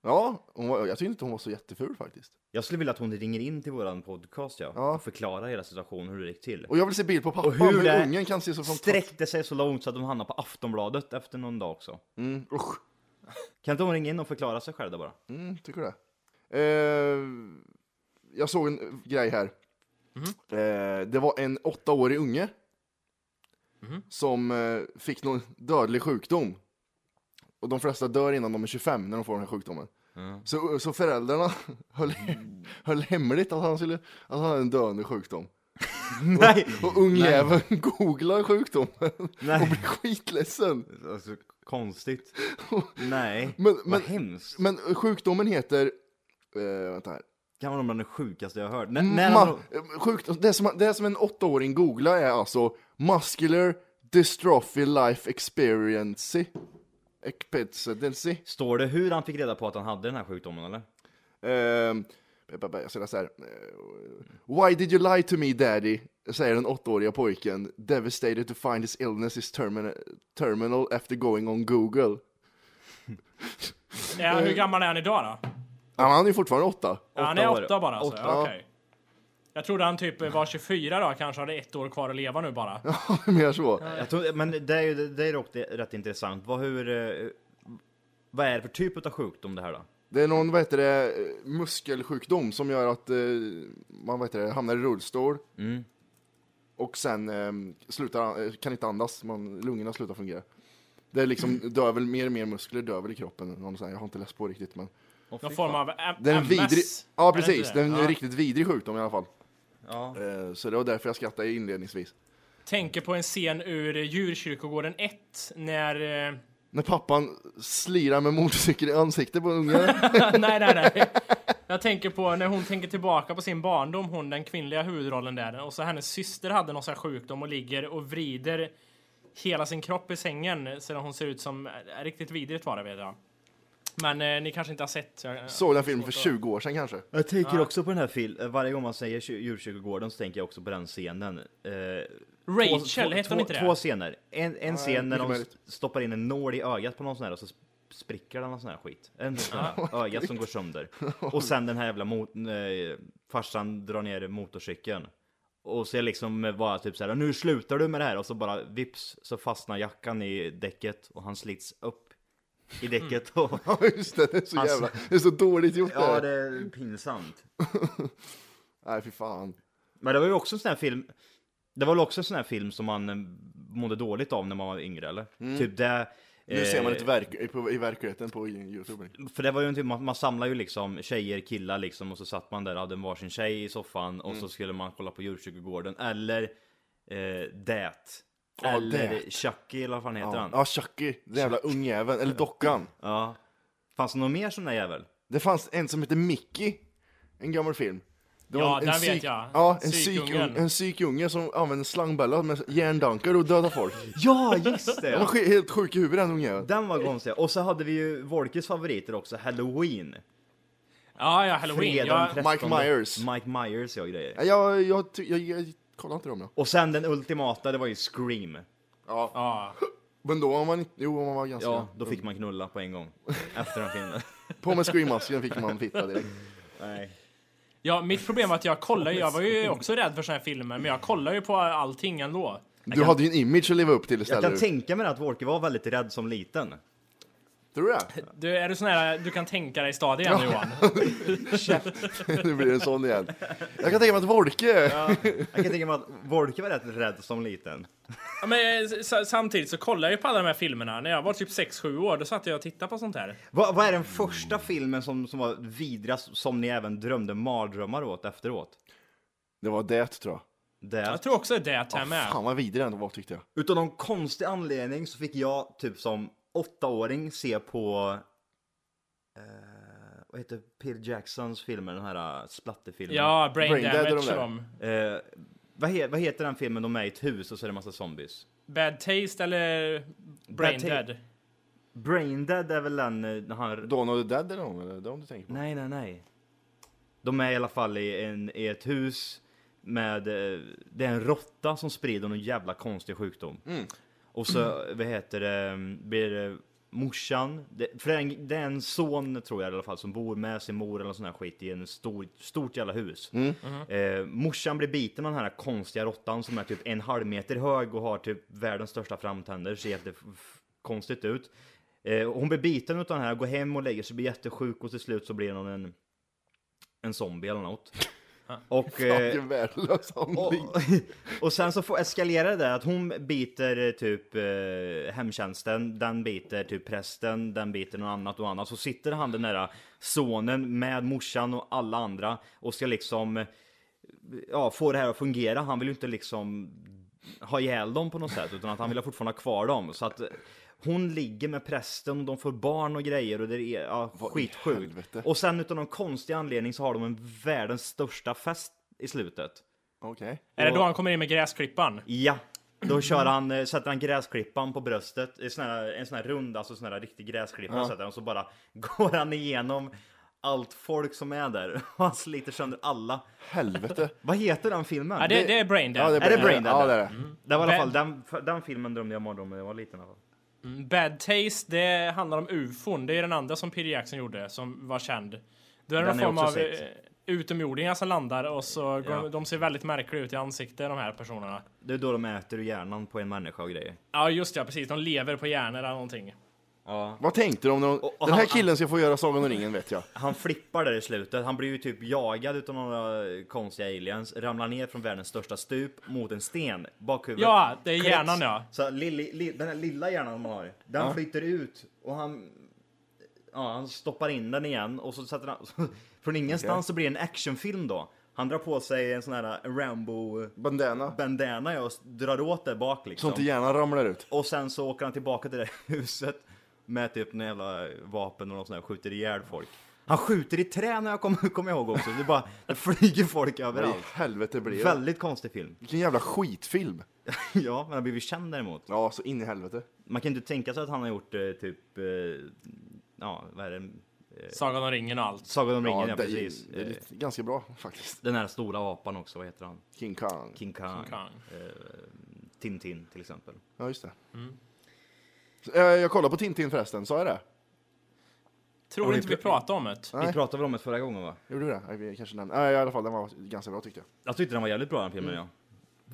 [SPEAKER 2] Ja, hon var, jag tyckte inte hon var så jätteful faktiskt.
[SPEAKER 6] Jag skulle vilja att hon ringer in till våran podcast, ja.
[SPEAKER 2] Ja.
[SPEAKER 6] Och förklarar hela situationen, hur det gick till.
[SPEAKER 2] Och jag vill se bild på pappan,
[SPEAKER 6] Och hur
[SPEAKER 2] hur
[SPEAKER 6] det-
[SPEAKER 2] ungen kan se så fantastisk
[SPEAKER 6] Sträckte sig så långt så att hon hamnade på Aftonbladet efter någon dag också.
[SPEAKER 2] mm, usch.
[SPEAKER 6] Kan inte hon ringa in och förklara sig själv där bara?
[SPEAKER 2] Mm, tycker du det? Eh, jag såg en grej här. Eh, det var en åttaårig unge som eh, fick någon dödlig sjukdom. Och de flesta dör innan de är 25 när de får den här sjukdomen. Så, så föräldrarna höll, höll hemligt att han, skulle, att han hade en döende sjukdom.
[SPEAKER 6] Nej!
[SPEAKER 2] Och ungjäveln googlar sjukdomen och
[SPEAKER 6] Nej!
[SPEAKER 2] blir skitledsen.
[SPEAKER 6] Alltså, konstigt. Nej,
[SPEAKER 2] Men,
[SPEAKER 6] vad
[SPEAKER 2] men,
[SPEAKER 6] hemskt.
[SPEAKER 2] men sjukdomen heter... Eh, vänta här.
[SPEAKER 6] Kan vara bland det sjukaste jag har hört. N- när
[SPEAKER 2] Ma-
[SPEAKER 6] han...
[SPEAKER 2] sjukt, det, som, det som en åttaåring googlar är alltså Muscular Dystrophy Life Experiency. Expediency.
[SPEAKER 6] Står det hur han fick reda på att han hade den här sjukdomen eller?
[SPEAKER 2] Ehm, jag ska läsa här. Eh, Why did you lie to me daddy? Säger den åttaåriga pojken. Devastated to find his illness is termina- terminal after going on Google.
[SPEAKER 3] Ja, hur gammal är han idag då?
[SPEAKER 2] Ja, Han är ju fortfarande åtta.
[SPEAKER 3] Ja, han är
[SPEAKER 6] år.
[SPEAKER 3] åtta bara alltså.
[SPEAKER 6] Åtta.
[SPEAKER 3] Ja, okej. Jag trodde han typ var 24 då, kanske hade ett år kvar att leva nu bara.
[SPEAKER 2] Mer så.
[SPEAKER 6] Jag tror, men det är ju det är dock det- rätt intressant. Vad, hur, eh, vad är det för typ av sjukdom det här då?
[SPEAKER 2] Det är någon, vad heter det, muskelsjukdom som gör att eh, man vad heter det, hamnar i rullstol.
[SPEAKER 3] Mm.
[SPEAKER 2] Och sen eh, slutar, eh, kan inte andas, man, lungorna slutar fungera. Det är liksom,
[SPEAKER 3] Mm.
[SPEAKER 2] dör väl mer och mer muskler dör väl i kroppen. Någon sån här, jag har inte läst på riktigt men.
[SPEAKER 3] Någon form av M-
[SPEAKER 2] Det är en
[SPEAKER 3] MS.
[SPEAKER 2] vidrig,
[SPEAKER 3] Är
[SPEAKER 2] ja
[SPEAKER 3] det
[SPEAKER 2] precis,
[SPEAKER 3] inte
[SPEAKER 2] det
[SPEAKER 3] det?
[SPEAKER 2] är en
[SPEAKER 3] Ja.
[SPEAKER 2] riktigt vidrig sjukdom i alla fall.
[SPEAKER 6] Ja.
[SPEAKER 2] Eh, så det var därför jag skrattade inledningsvis.
[SPEAKER 3] Tänker på en scen ur eh, Djurkyrkogården 1 när... eh,
[SPEAKER 2] När pappan slirar med motorcykel i ansiktet på ungen.
[SPEAKER 3] nej, nej, nej. Jag tänker på när hon tänker tillbaka på sin barndom, hon den kvinnliga huvudrollen där. Och så hennes syster hade någon sån här sjukdom och ligger och vrider eh, hela sin kropp i sängen. Så hon ser ut som... Riktigt vidrigt var det vet jag. Men eh, ni kanske inte har sett. Så jag,
[SPEAKER 2] Såg den filmen för 20 år sedan kanske.
[SPEAKER 6] Jag tänker också på den här filmen, varje gång man säger kyr- djurkyrkogården så tänker jag också på den scenen. Eh,
[SPEAKER 3] Rachel,
[SPEAKER 6] två,
[SPEAKER 3] hette hon
[SPEAKER 6] två,
[SPEAKER 3] inte det?
[SPEAKER 6] Två scener. En, en scen när
[SPEAKER 2] mycket
[SPEAKER 6] de
[SPEAKER 2] möjligt.
[SPEAKER 6] stoppar in en nål i ögat på någon sån här och så sp- spricker den någon sån här skit. En sån
[SPEAKER 3] Ah,
[SPEAKER 6] här ögat som går sönder. Och sen den här jävla mot, eh, farsan drar ner motorcykeln. Och så är liksom bara typ så här, nu slutar du med det här och så bara vips så fastnar jackan i däcket och han slits upp i däcket och
[SPEAKER 2] Ja just det, det är så
[SPEAKER 6] Alltså-
[SPEAKER 2] jävla, det är så dåligt gjort
[SPEAKER 6] Ja,
[SPEAKER 2] där.
[SPEAKER 6] det är pinsamt.
[SPEAKER 2] Nej fy fan.
[SPEAKER 6] Men det var ju också en sån här film. Det var väl också en sån här film som man eh, mådde dåligt av när man var yngre eller? Typ det.
[SPEAKER 2] Mm. Nu ser
[SPEAKER 3] Eh,
[SPEAKER 2] man ett verk, i, på, i verkligheten på Youtube.
[SPEAKER 6] För det var ju en typ, man, man samlade ju liksom tjejer, killar liksom och så satt man där och hade en varsin tjej i soffan och
[SPEAKER 2] Mm.
[SPEAKER 6] så skulle man kolla på djurkyrkogården eller eh, Det.
[SPEAKER 2] Ja,
[SPEAKER 6] eller
[SPEAKER 2] Det.
[SPEAKER 6] Chucky eller vad fan heter
[SPEAKER 2] Ja,
[SPEAKER 6] han?
[SPEAKER 2] ja Chucky, den jävla ungjäveln, eller dockan.
[SPEAKER 6] Ja. Fanns det någon mer sån där jävel?
[SPEAKER 2] Det fanns en som hette Mickey, en gammal film. Det
[SPEAKER 3] Ja,
[SPEAKER 2] en
[SPEAKER 3] den vet jag.
[SPEAKER 2] Ja, en
[SPEAKER 3] Psykungen.
[SPEAKER 2] psykunge en psykunge som använde slangbella med järndankar och dödade folk.
[SPEAKER 6] Ja, just det!
[SPEAKER 2] Han var sk- helt sjuk i huvudet den ungjäveln.
[SPEAKER 6] Den var konstig. Och så hade vi ju Wolkes favoriter också, Halloween.
[SPEAKER 3] Ja, ja, halloween.
[SPEAKER 6] Fredag
[SPEAKER 3] Jag,
[SPEAKER 6] den 13.
[SPEAKER 2] Mike Myers.
[SPEAKER 6] Mike Myers ja grejer.
[SPEAKER 2] Nej, Jag, jag, ty- jag, jag kollar inte dem då.
[SPEAKER 6] Och sen den ultimata, det var ju Scream.
[SPEAKER 3] ja.
[SPEAKER 2] Men då var man inte, jo man var ganska...
[SPEAKER 6] Ja, då fick man knulla på en gång. Efter den filmen.
[SPEAKER 2] På med screammasken fick man fitta direkt.
[SPEAKER 6] Nej.
[SPEAKER 3] ja, mitt problem var att jag kollade, jag var ju också rädd för såna här filmer, men jag kollar ju på allting ändå.
[SPEAKER 2] Du hade ju en image att leva upp till
[SPEAKER 6] Jag
[SPEAKER 2] istället.
[SPEAKER 6] kan tänka mig att Walker var väldigt rädd som liten.
[SPEAKER 2] Tror du det?
[SPEAKER 3] Du, är du sån här, du kan tänka dig stad igen Johan?
[SPEAKER 2] nu blir det en sån igen. Jag kan tänka mig att Wolke...
[SPEAKER 6] Jag kan tänka mig att Walker var rätt rädd som liten.
[SPEAKER 3] Ja, men, eh, s- samtidigt så kollar jag ju på alla de här filmerna. När jag var typ 6-7 år, då satt jag och tittade på sånt här.
[SPEAKER 6] Vad, vad är den första filmen som, som var vidrast, som ni även drömde mardrömmar åt efteråt?
[SPEAKER 2] Det var det tror jag.
[SPEAKER 6] Det.
[SPEAKER 3] Jag tror också det är det här med.
[SPEAKER 2] Fan vad vidrig den var tyckte jag.
[SPEAKER 6] Utan någon konstig anledning så fick jag typ som åttaåring se på eh, vad heter Peter Jacksons filmer, den här eh, splatterfilmen?
[SPEAKER 3] Ja, Brain,
[SPEAKER 2] Brain Dead är
[SPEAKER 3] Damage
[SPEAKER 2] de där.
[SPEAKER 3] och de.
[SPEAKER 6] Eh, vad, he- vad heter den filmen de är i ett hus och så är det massa zombies?
[SPEAKER 3] Bad Taste eller Brain
[SPEAKER 6] Ta-
[SPEAKER 3] Dead?
[SPEAKER 6] Braindead är väl den eh, när han...
[SPEAKER 2] Dawn of the Dead eller någon, eller det om du tänker på?
[SPEAKER 6] Nej, nej, nej. De är i alla fall i, en, i ett hus med... eh, Det är en råtta som sprider någon jävla konstig sjukdom. Och så, vad heter det, blir det morsan. Det, för det är, en, det är en son, tror jag i alla fall, som bor med sin mor eller sån här skit i en stor, stort jävla hus. Eh, morsan blir biten av den här konstiga råttan som är typ en halv meter hög och har typ världens största framtänder. Ser jättekonstigt ut. Eh, och hon blir biten av den här, går hem och lägger sig, blir jättesjuk och till slut så blir hon en, en zombie eller något. Och,
[SPEAKER 2] Fan,
[SPEAKER 6] eh,
[SPEAKER 2] Vilken värdelös handling.
[SPEAKER 6] och, och sen så får eskalera det där att hon biter eh, typ eh, hemtjänsten, den biter typ prästen, den biter någon annat och annat. Så sitter han den där eh, sonen med morsan och alla andra och ska liksom eh, ja, få det här att fungera. Han vill ju inte liksom ha ihjäl dem på något sätt utan att han vill fortfarande ha kvar dem. Så att eh, hon ligger med prästen och de får barn och grejer och det är ja,
[SPEAKER 2] Vad i
[SPEAKER 6] skitsjukt.
[SPEAKER 2] helvete?
[SPEAKER 6] Och sen utan någon konstig anledning så har de en världens största fest i slutet.
[SPEAKER 2] Okej.
[SPEAKER 3] Är det då han kommer in med gräsklippan?
[SPEAKER 6] Ja, då
[SPEAKER 3] Mm.
[SPEAKER 6] kör han, eh, sätter han gräsklippan på bröstet, en sån här, en sån här rund, alltså sån här riktig gräsklippa sätter han och så bara går han igenom allt folk som är där och han sliter sönder alla.
[SPEAKER 2] Helvete.
[SPEAKER 6] Vad heter den filmen?
[SPEAKER 3] Ja, det, det är Brain Dead.
[SPEAKER 6] Är det Brain Dead?
[SPEAKER 2] Ja Mm. det är det.
[SPEAKER 6] Det var i alla fall
[SPEAKER 3] Vem-
[SPEAKER 6] den, för- den filmen drömde jag mardröm om när jag var liten i alla fall.
[SPEAKER 3] Bad Taste, det handlar om ufon. Det är den andra som Peter Jackson gjorde, som var känd. Då är det
[SPEAKER 6] Den
[SPEAKER 3] någon
[SPEAKER 6] har jag
[SPEAKER 3] form av
[SPEAKER 6] också
[SPEAKER 3] eh,
[SPEAKER 6] sett.
[SPEAKER 3] utomjordingar som landar och så går,
[SPEAKER 6] Ja.
[SPEAKER 3] de ser väldigt märkliga ut i ansiktet, de här personerna.
[SPEAKER 6] Det är då de äter ur hjärnan på en människa och grejer.
[SPEAKER 3] Ja, just det, ja, precis. De lever på hjärnor eller någonting.
[SPEAKER 6] Ja.
[SPEAKER 2] Vad tänkte de? när de-
[SPEAKER 6] Och- och
[SPEAKER 2] Den här
[SPEAKER 6] han-
[SPEAKER 2] killen ska få göra Sagan om ringen vet jag.
[SPEAKER 6] Han flippar där i slutet, han blir ju typ jagad utav några konstiga aliens, ramlar ner från världens största stup mot en sten, bakhuvudet.
[SPEAKER 3] Ja, det är
[SPEAKER 6] Klicks.
[SPEAKER 3] hjärnan, ja.
[SPEAKER 6] Så lilli, li, den här lilla hjärnan man har, den flyter ut och han... Ja, han stoppar in den igen och så sätter han... från ingenstans så blir det en actionfilm då. Han drar på sig en sån här Rambo-bandana
[SPEAKER 2] Bandana.
[SPEAKER 6] ja, och drar åt det bak
[SPEAKER 2] Så
[SPEAKER 6] liksom.
[SPEAKER 2] inte hjärnan ramlar ut.
[SPEAKER 6] Och sen så åker han tillbaka till det där huset med typ några jävla vapen och något sånt där, skjuter ihjäl folk. Han skjuter i trä när jag kommer kom jag ihåg också. Det, är bara, det flyger folk
[SPEAKER 2] Vad i
[SPEAKER 6] överallt.
[SPEAKER 2] helvete blir det?
[SPEAKER 6] Väldigt konstig film.
[SPEAKER 2] Vilken jävla skitfilm.
[SPEAKER 6] ja, men han har blivit känd däremot.
[SPEAKER 2] Ja, så in i helvete.
[SPEAKER 6] Man kan inte tänka sig att han har gjort eh, typ eh, ja, vad är det?
[SPEAKER 3] Sagan om ringen och allt.
[SPEAKER 6] Sagan om ringen,
[SPEAKER 2] Ja,
[SPEAKER 6] ja,
[SPEAKER 2] det,
[SPEAKER 6] precis.
[SPEAKER 2] det är
[SPEAKER 6] Eh,
[SPEAKER 2] lite, ganska bra faktiskt.
[SPEAKER 6] Den här stora apan också, vad heter han?
[SPEAKER 2] King Kong.
[SPEAKER 6] King Kong.
[SPEAKER 3] Kong.
[SPEAKER 6] Eh, Tintin till exempel.
[SPEAKER 2] Ja, just det. Så, eh, Jag kollade på Tintin förresten, sa jag det?
[SPEAKER 3] Tror inte vi pratade om det.
[SPEAKER 2] Nej.
[SPEAKER 6] Vi pratade väl om det förra gången va?
[SPEAKER 2] Gjorde du det? Nej, vi kanske nämnde. Nej, i alla fall, den var ganska bra tyckte jag.
[SPEAKER 6] Jag tyckte den var jävligt bra den filmen ja.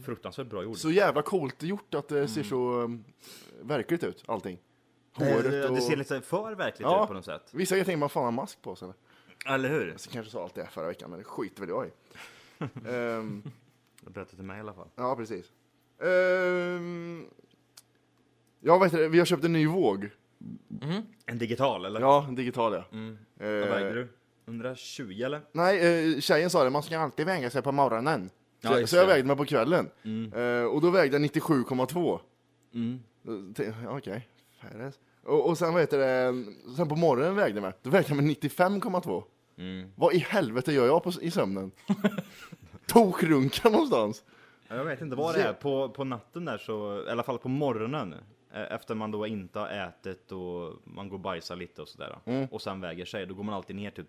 [SPEAKER 6] Fruktansvärt bra gjord.
[SPEAKER 2] Så jävla coolt gjort att det
[SPEAKER 6] Mm.
[SPEAKER 2] ser så um, verkligt ut, allting.
[SPEAKER 6] det, Eh, det,
[SPEAKER 2] Håret och...
[SPEAKER 6] det ser lite för verkligt
[SPEAKER 2] Ja.
[SPEAKER 6] ut på något sätt.
[SPEAKER 2] Vissa grejer tänker man fan har mask på sig. eller?
[SPEAKER 6] Eller hur?
[SPEAKER 2] Så kanske sa allt det här förra veckan, men det skiter väl jag i. Ehm,
[SPEAKER 6] Jag berättade till mig i alla fall.
[SPEAKER 2] ja, precis. Um, ja, vet du, vi har köpt en ny våg.
[SPEAKER 6] En digital eller?
[SPEAKER 2] Ja, en digital ja. Eh,
[SPEAKER 6] Mm. Vad vägde du? 120 eller?
[SPEAKER 2] Nej, eh, tjejen sa det, man ska alltid väga sig på morgonen.
[SPEAKER 6] Ja,
[SPEAKER 2] så,
[SPEAKER 6] just
[SPEAKER 2] så jag
[SPEAKER 6] det. Mm.
[SPEAKER 2] vägde mig på kvällen. Eh, och då vägde jag 97,2. Mm. Okej, färre. Och, och sen, vad heter det, sen på morgonen vägde jag mig. Då vägde jag mig 95,2. Vad i helvete gör jag på, i sömnen? Tokrunkar någonstans.
[SPEAKER 6] Ja, Jag vet inte vad det är. På, på natten där så, i alla fall på morgonen. eh, Efter man då inte har ätit och man går och bajsar lite och sådär.
[SPEAKER 2] Mm.
[SPEAKER 6] Och sen väger sig, då går man alltid ner typ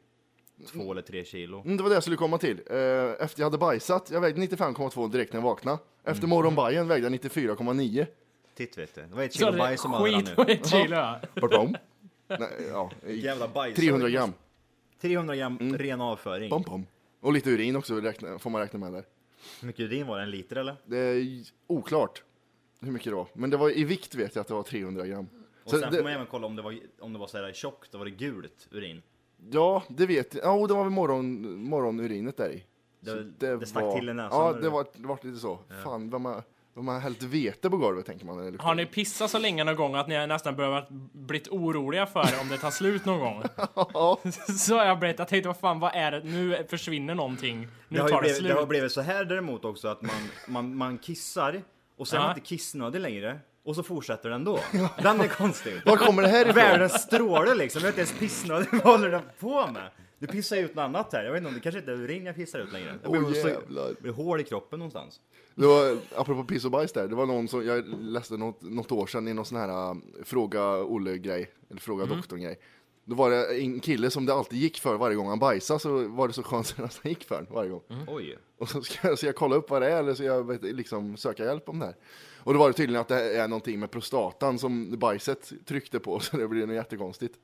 [SPEAKER 6] två eller tre kilo.
[SPEAKER 2] Mm, det var det jag skulle komma till. Eh, efter jag hade bajsat, jag vägde 95,2 direkt när jag vaknade. Efter
[SPEAKER 6] Mm.
[SPEAKER 2] morgonbajen vägde jag 94,9.
[SPEAKER 6] Titt vet du. Det var ett
[SPEAKER 3] Så
[SPEAKER 6] kilo
[SPEAKER 3] det
[SPEAKER 6] bajs som hade
[SPEAKER 3] skit
[SPEAKER 6] nu.
[SPEAKER 3] på ett kilo. ja.
[SPEAKER 2] Bortom. Nej, ja,
[SPEAKER 6] Jävla bajs.
[SPEAKER 2] 300 gram. Mm.
[SPEAKER 6] 300 gram ren avföring.
[SPEAKER 2] Pom, pom. Och lite urin också räkna, får man räkna med där.
[SPEAKER 6] Hur mycket urin var det? En liter eller?
[SPEAKER 2] Det är j- oklart hur mycket det var. Men det var i vikt vet jag att det var 300 gram.
[SPEAKER 6] Och
[SPEAKER 2] Så
[SPEAKER 6] sen
[SPEAKER 2] det,
[SPEAKER 6] får man även kolla om det var, om det var sådär tjockt, då var det gult urin.
[SPEAKER 2] Ja, det vet jag. Ja, och det var väl morgon, morgonurinet där i.
[SPEAKER 6] Det-
[SPEAKER 2] Så
[SPEAKER 6] det stack till i näsan,
[SPEAKER 2] Ja,
[SPEAKER 6] eller?
[SPEAKER 2] det var, det var lite så. Fan, vad man, vad man har hällt vete på golvet tänker man. när det luktar.
[SPEAKER 3] Har ni pissat så länge någon gång att ni nästan behövt blivit oroliga för om det tar slut någon gång? så har jag blivit, jag tänkte vad fan vad är det, nu försvinner någonting. Nu
[SPEAKER 6] Det har, ju
[SPEAKER 3] tar det
[SPEAKER 6] blivit, det
[SPEAKER 3] slut.
[SPEAKER 6] har blivit så här däremot också att man, man, man kissar och sen är
[SPEAKER 3] Ja.
[SPEAKER 6] man inte kissnödig längre och så fortsätter den då. Den är konstig.
[SPEAKER 2] Var kommer det här ifrån?
[SPEAKER 6] Världen strålar liksom, jag är inte ens pissnödig. Vad håller den på med? Du pissar ut något annat här. Jag vet inte om det kanske inte är urin jag pissar ut längre. Det
[SPEAKER 2] Åh,
[SPEAKER 3] Oh,
[SPEAKER 6] blir så-
[SPEAKER 2] jävlar.
[SPEAKER 6] det blir hål i kroppen någonstans.
[SPEAKER 2] Det var, apropå piss och bajs där, det var någon som, jag läste något, något år sedan i någon sån här um, fråga Olle-grej, eller fråga doktorn-grej. Då var det en kille som det alltid gick för varje gång han bajsade, så var det så chansen att han gick för den varje gång.
[SPEAKER 3] Mm.
[SPEAKER 6] Oj.
[SPEAKER 2] Och så ska, ska jag kolla upp vad det är, eller så jag vet, liksom söka hjälp om det här. Och då var det tydligen att det här är någonting med prostatan som bajset tryckte på, så det blev något jättekonstigt.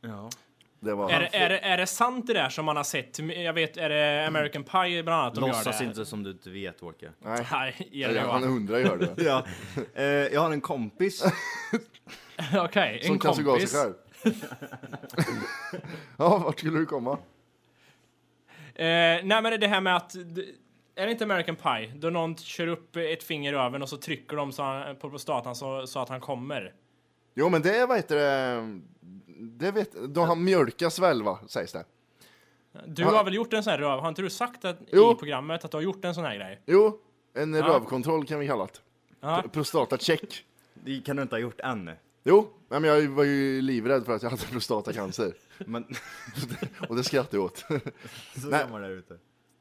[SPEAKER 6] Ja.
[SPEAKER 2] Det var...
[SPEAKER 3] Är, det- är, det- är det sant det där som man har sett? Jag vet, är det American Pie bland annat de gör
[SPEAKER 6] Låtsas
[SPEAKER 3] det?
[SPEAKER 6] inte som du inte vet Åke.
[SPEAKER 3] Nej, är det
[SPEAKER 2] Eller, han
[SPEAKER 3] va?
[SPEAKER 2] undrar gör det.
[SPEAKER 6] Ja. Eh, jag har en kompis
[SPEAKER 3] Okej,
[SPEAKER 2] Som
[SPEAKER 3] en
[SPEAKER 2] kan suga av sig
[SPEAKER 3] kompis.
[SPEAKER 2] själv. ja, vart skulle du komma?
[SPEAKER 3] Eh, nej men det är det här med att, d- är det inte American Pie? Då någon kör upp ett finger i öven och så trycker de så han, på prostatan så, så att han kommer.
[SPEAKER 2] Jo, men det är vad heter det? Det vet, då han mjölkas väl, va, sägs det.
[SPEAKER 3] Du
[SPEAKER 2] Ja.
[SPEAKER 3] har väl gjort en sån här röv? Har inte du sagt att,
[SPEAKER 2] Jo.
[SPEAKER 3] i programmet att du har gjort en sån här grej?
[SPEAKER 2] Jo, en rövkontroll kan vi kalla det.
[SPEAKER 3] Ja.
[SPEAKER 2] P- Prostatacheck.
[SPEAKER 6] det kan du inte ha gjort än.
[SPEAKER 2] Jo, nej, men jag var ju livrädd för att jag hade prostatacancer.
[SPEAKER 6] Men
[SPEAKER 2] Och det skrattade jag åt.
[SPEAKER 6] så
[SPEAKER 2] Nej.
[SPEAKER 6] gör man där ute.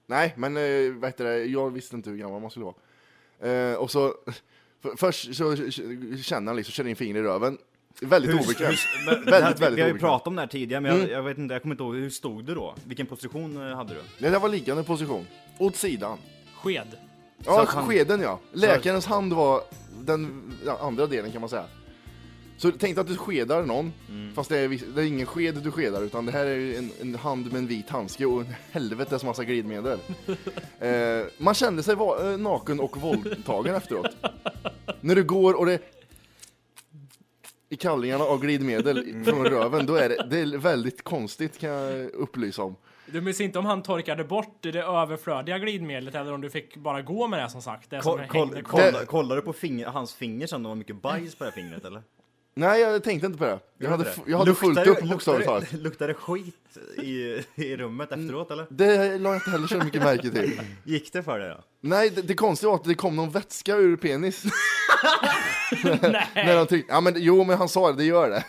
[SPEAKER 2] Nej, men eh, vad heter det? jag visste inte hur gammal man skulle vara. Eh, och så, för, först så känner han liksom, kör in fingret i röven. Väldigt obekvämt.
[SPEAKER 6] Men, det här,
[SPEAKER 2] Väldigt, Mm. väldigt
[SPEAKER 6] vi har ju
[SPEAKER 2] obekvämt.
[SPEAKER 6] pratat om det här tidigare, men jag, jag vet inte, jag kommer inte ihåg, hur stod du då? Vilken position eh, hade du?
[SPEAKER 2] Nej, det var liggande position. Åt sidan.
[SPEAKER 3] Sked.
[SPEAKER 2] Ja,
[SPEAKER 6] att han-
[SPEAKER 2] skeden ja. Läkarens hand var den ja, andra delen kan man säga. Så tänk dig att du skedar någon,
[SPEAKER 6] Mm.
[SPEAKER 2] fast det är, vis- det är ingen sked du skedar utan det här är ju en, en hand med en vit handske och en helvetes massa glidmedel. eh, man kände sig va- eh, naken och våldtagen efteråt. När du går och det i kallingarna av glidmedel från röven, då är det, det är väldigt konstigt kan jag upplysa om.
[SPEAKER 3] Du minns inte om han torkade bort det överflödiga glidmedlet eller om du fick bara gå med det som sagt? Det som
[SPEAKER 6] Koll, koll,
[SPEAKER 3] hängde kvar.
[SPEAKER 6] kolla, kollar du på finger, hans finger sen om det var mycket bajs på det här fingret eller?
[SPEAKER 2] Nej, jag tänkte inte på det. Jag hade,
[SPEAKER 6] Gjorde
[SPEAKER 2] fu- jag hade fullt
[SPEAKER 6] det? Luktar det-
[SPEAKER 2] upp bokstavligt
[SPEAKER 6] luktar det-
[SPEAKER 2] talat. Mm.
[SPEAKER 6] Luktar det skit i, i rummet efteråt eller?
[SPEAKER 2] Det la jag inte heller så mycket märke till.
[SPEAKER 6] Gick det för det då?
[SPEAKER 2] Nej, det, det konstiga var att det kom någon vätska ur penis. När de tyckte, ja men jo men han sa det, det gör det.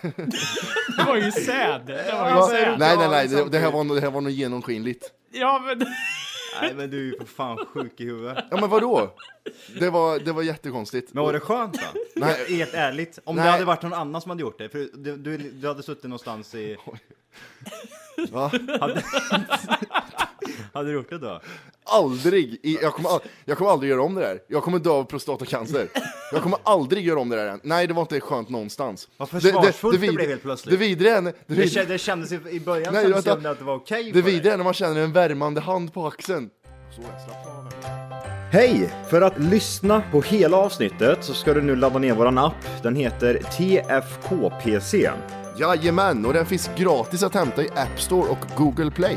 [SPEAKER 3] Det var ju säd! Det var ju
[SPEAKER 2] Va?
[SPEAKER 3] säd!
[SPEAKER 2] nej nej nej, det, det här var nog det här var nog genomskinligt.
[SPEAKER 3] Ja men...
[SPEAKER 6] Nej men du är ju för fan sjuk i huvudet.
[SPEAKER 2] Ja men vadå? Det var, det var jättekonstigt.
[SPEAKER 6] Men var det skönt då?
[SPEAKER 2] Nej.
[SPEAKER 6] Helt ärligt. Om det
[SPEAKER 2] Nej.
[SPEAKER 6] hade varit någon annan som hade gjort det. För du, du, du hade suttit någonstans i...
[SPEAKER 2] Va?
[SPEAKER 6] Hade, hade du gjort det då?
[SPEAKER 2] Aldrig! I, jag, kommer all, jag kommer aldrig göra om det där. Jag kommer dö av prostatacancer. Jag kommer aldrig göra om det där än. Nej, det var inte skönt någonstans.
[SPEAKER 6] Vad försvarsfullt det
[SPEAKER 2] vid-
[SPEAKER 6] blev helt plötsligt.
[SPEAKER 2] Det vidriga är, när- det
[SPEAKER 6] Det,
[SPEAKER 2] vid,
[SPEAKER 6] kä- det kändes i, i början
[SPEAKER 2] Nej,
[SPEAKER 6] kändes det
[SPEAKER 2] vänta.
[SPEAKER 6] som att det var okej
[SPEAKER 2] det
[SPEAKER 6] för dig.
[SPEAKER 2] vidriga är när man känner en värmande hand på axeln. Så jag slapp av här.
[SPEAKER 5] Hej! För att lyssna på hela avsnittet så ska du nu ladda ner våran app. Den heter TFKPC.
[SPEAKER 2] Jajamän, och den finns gratis att hämta i App Store och Google Play.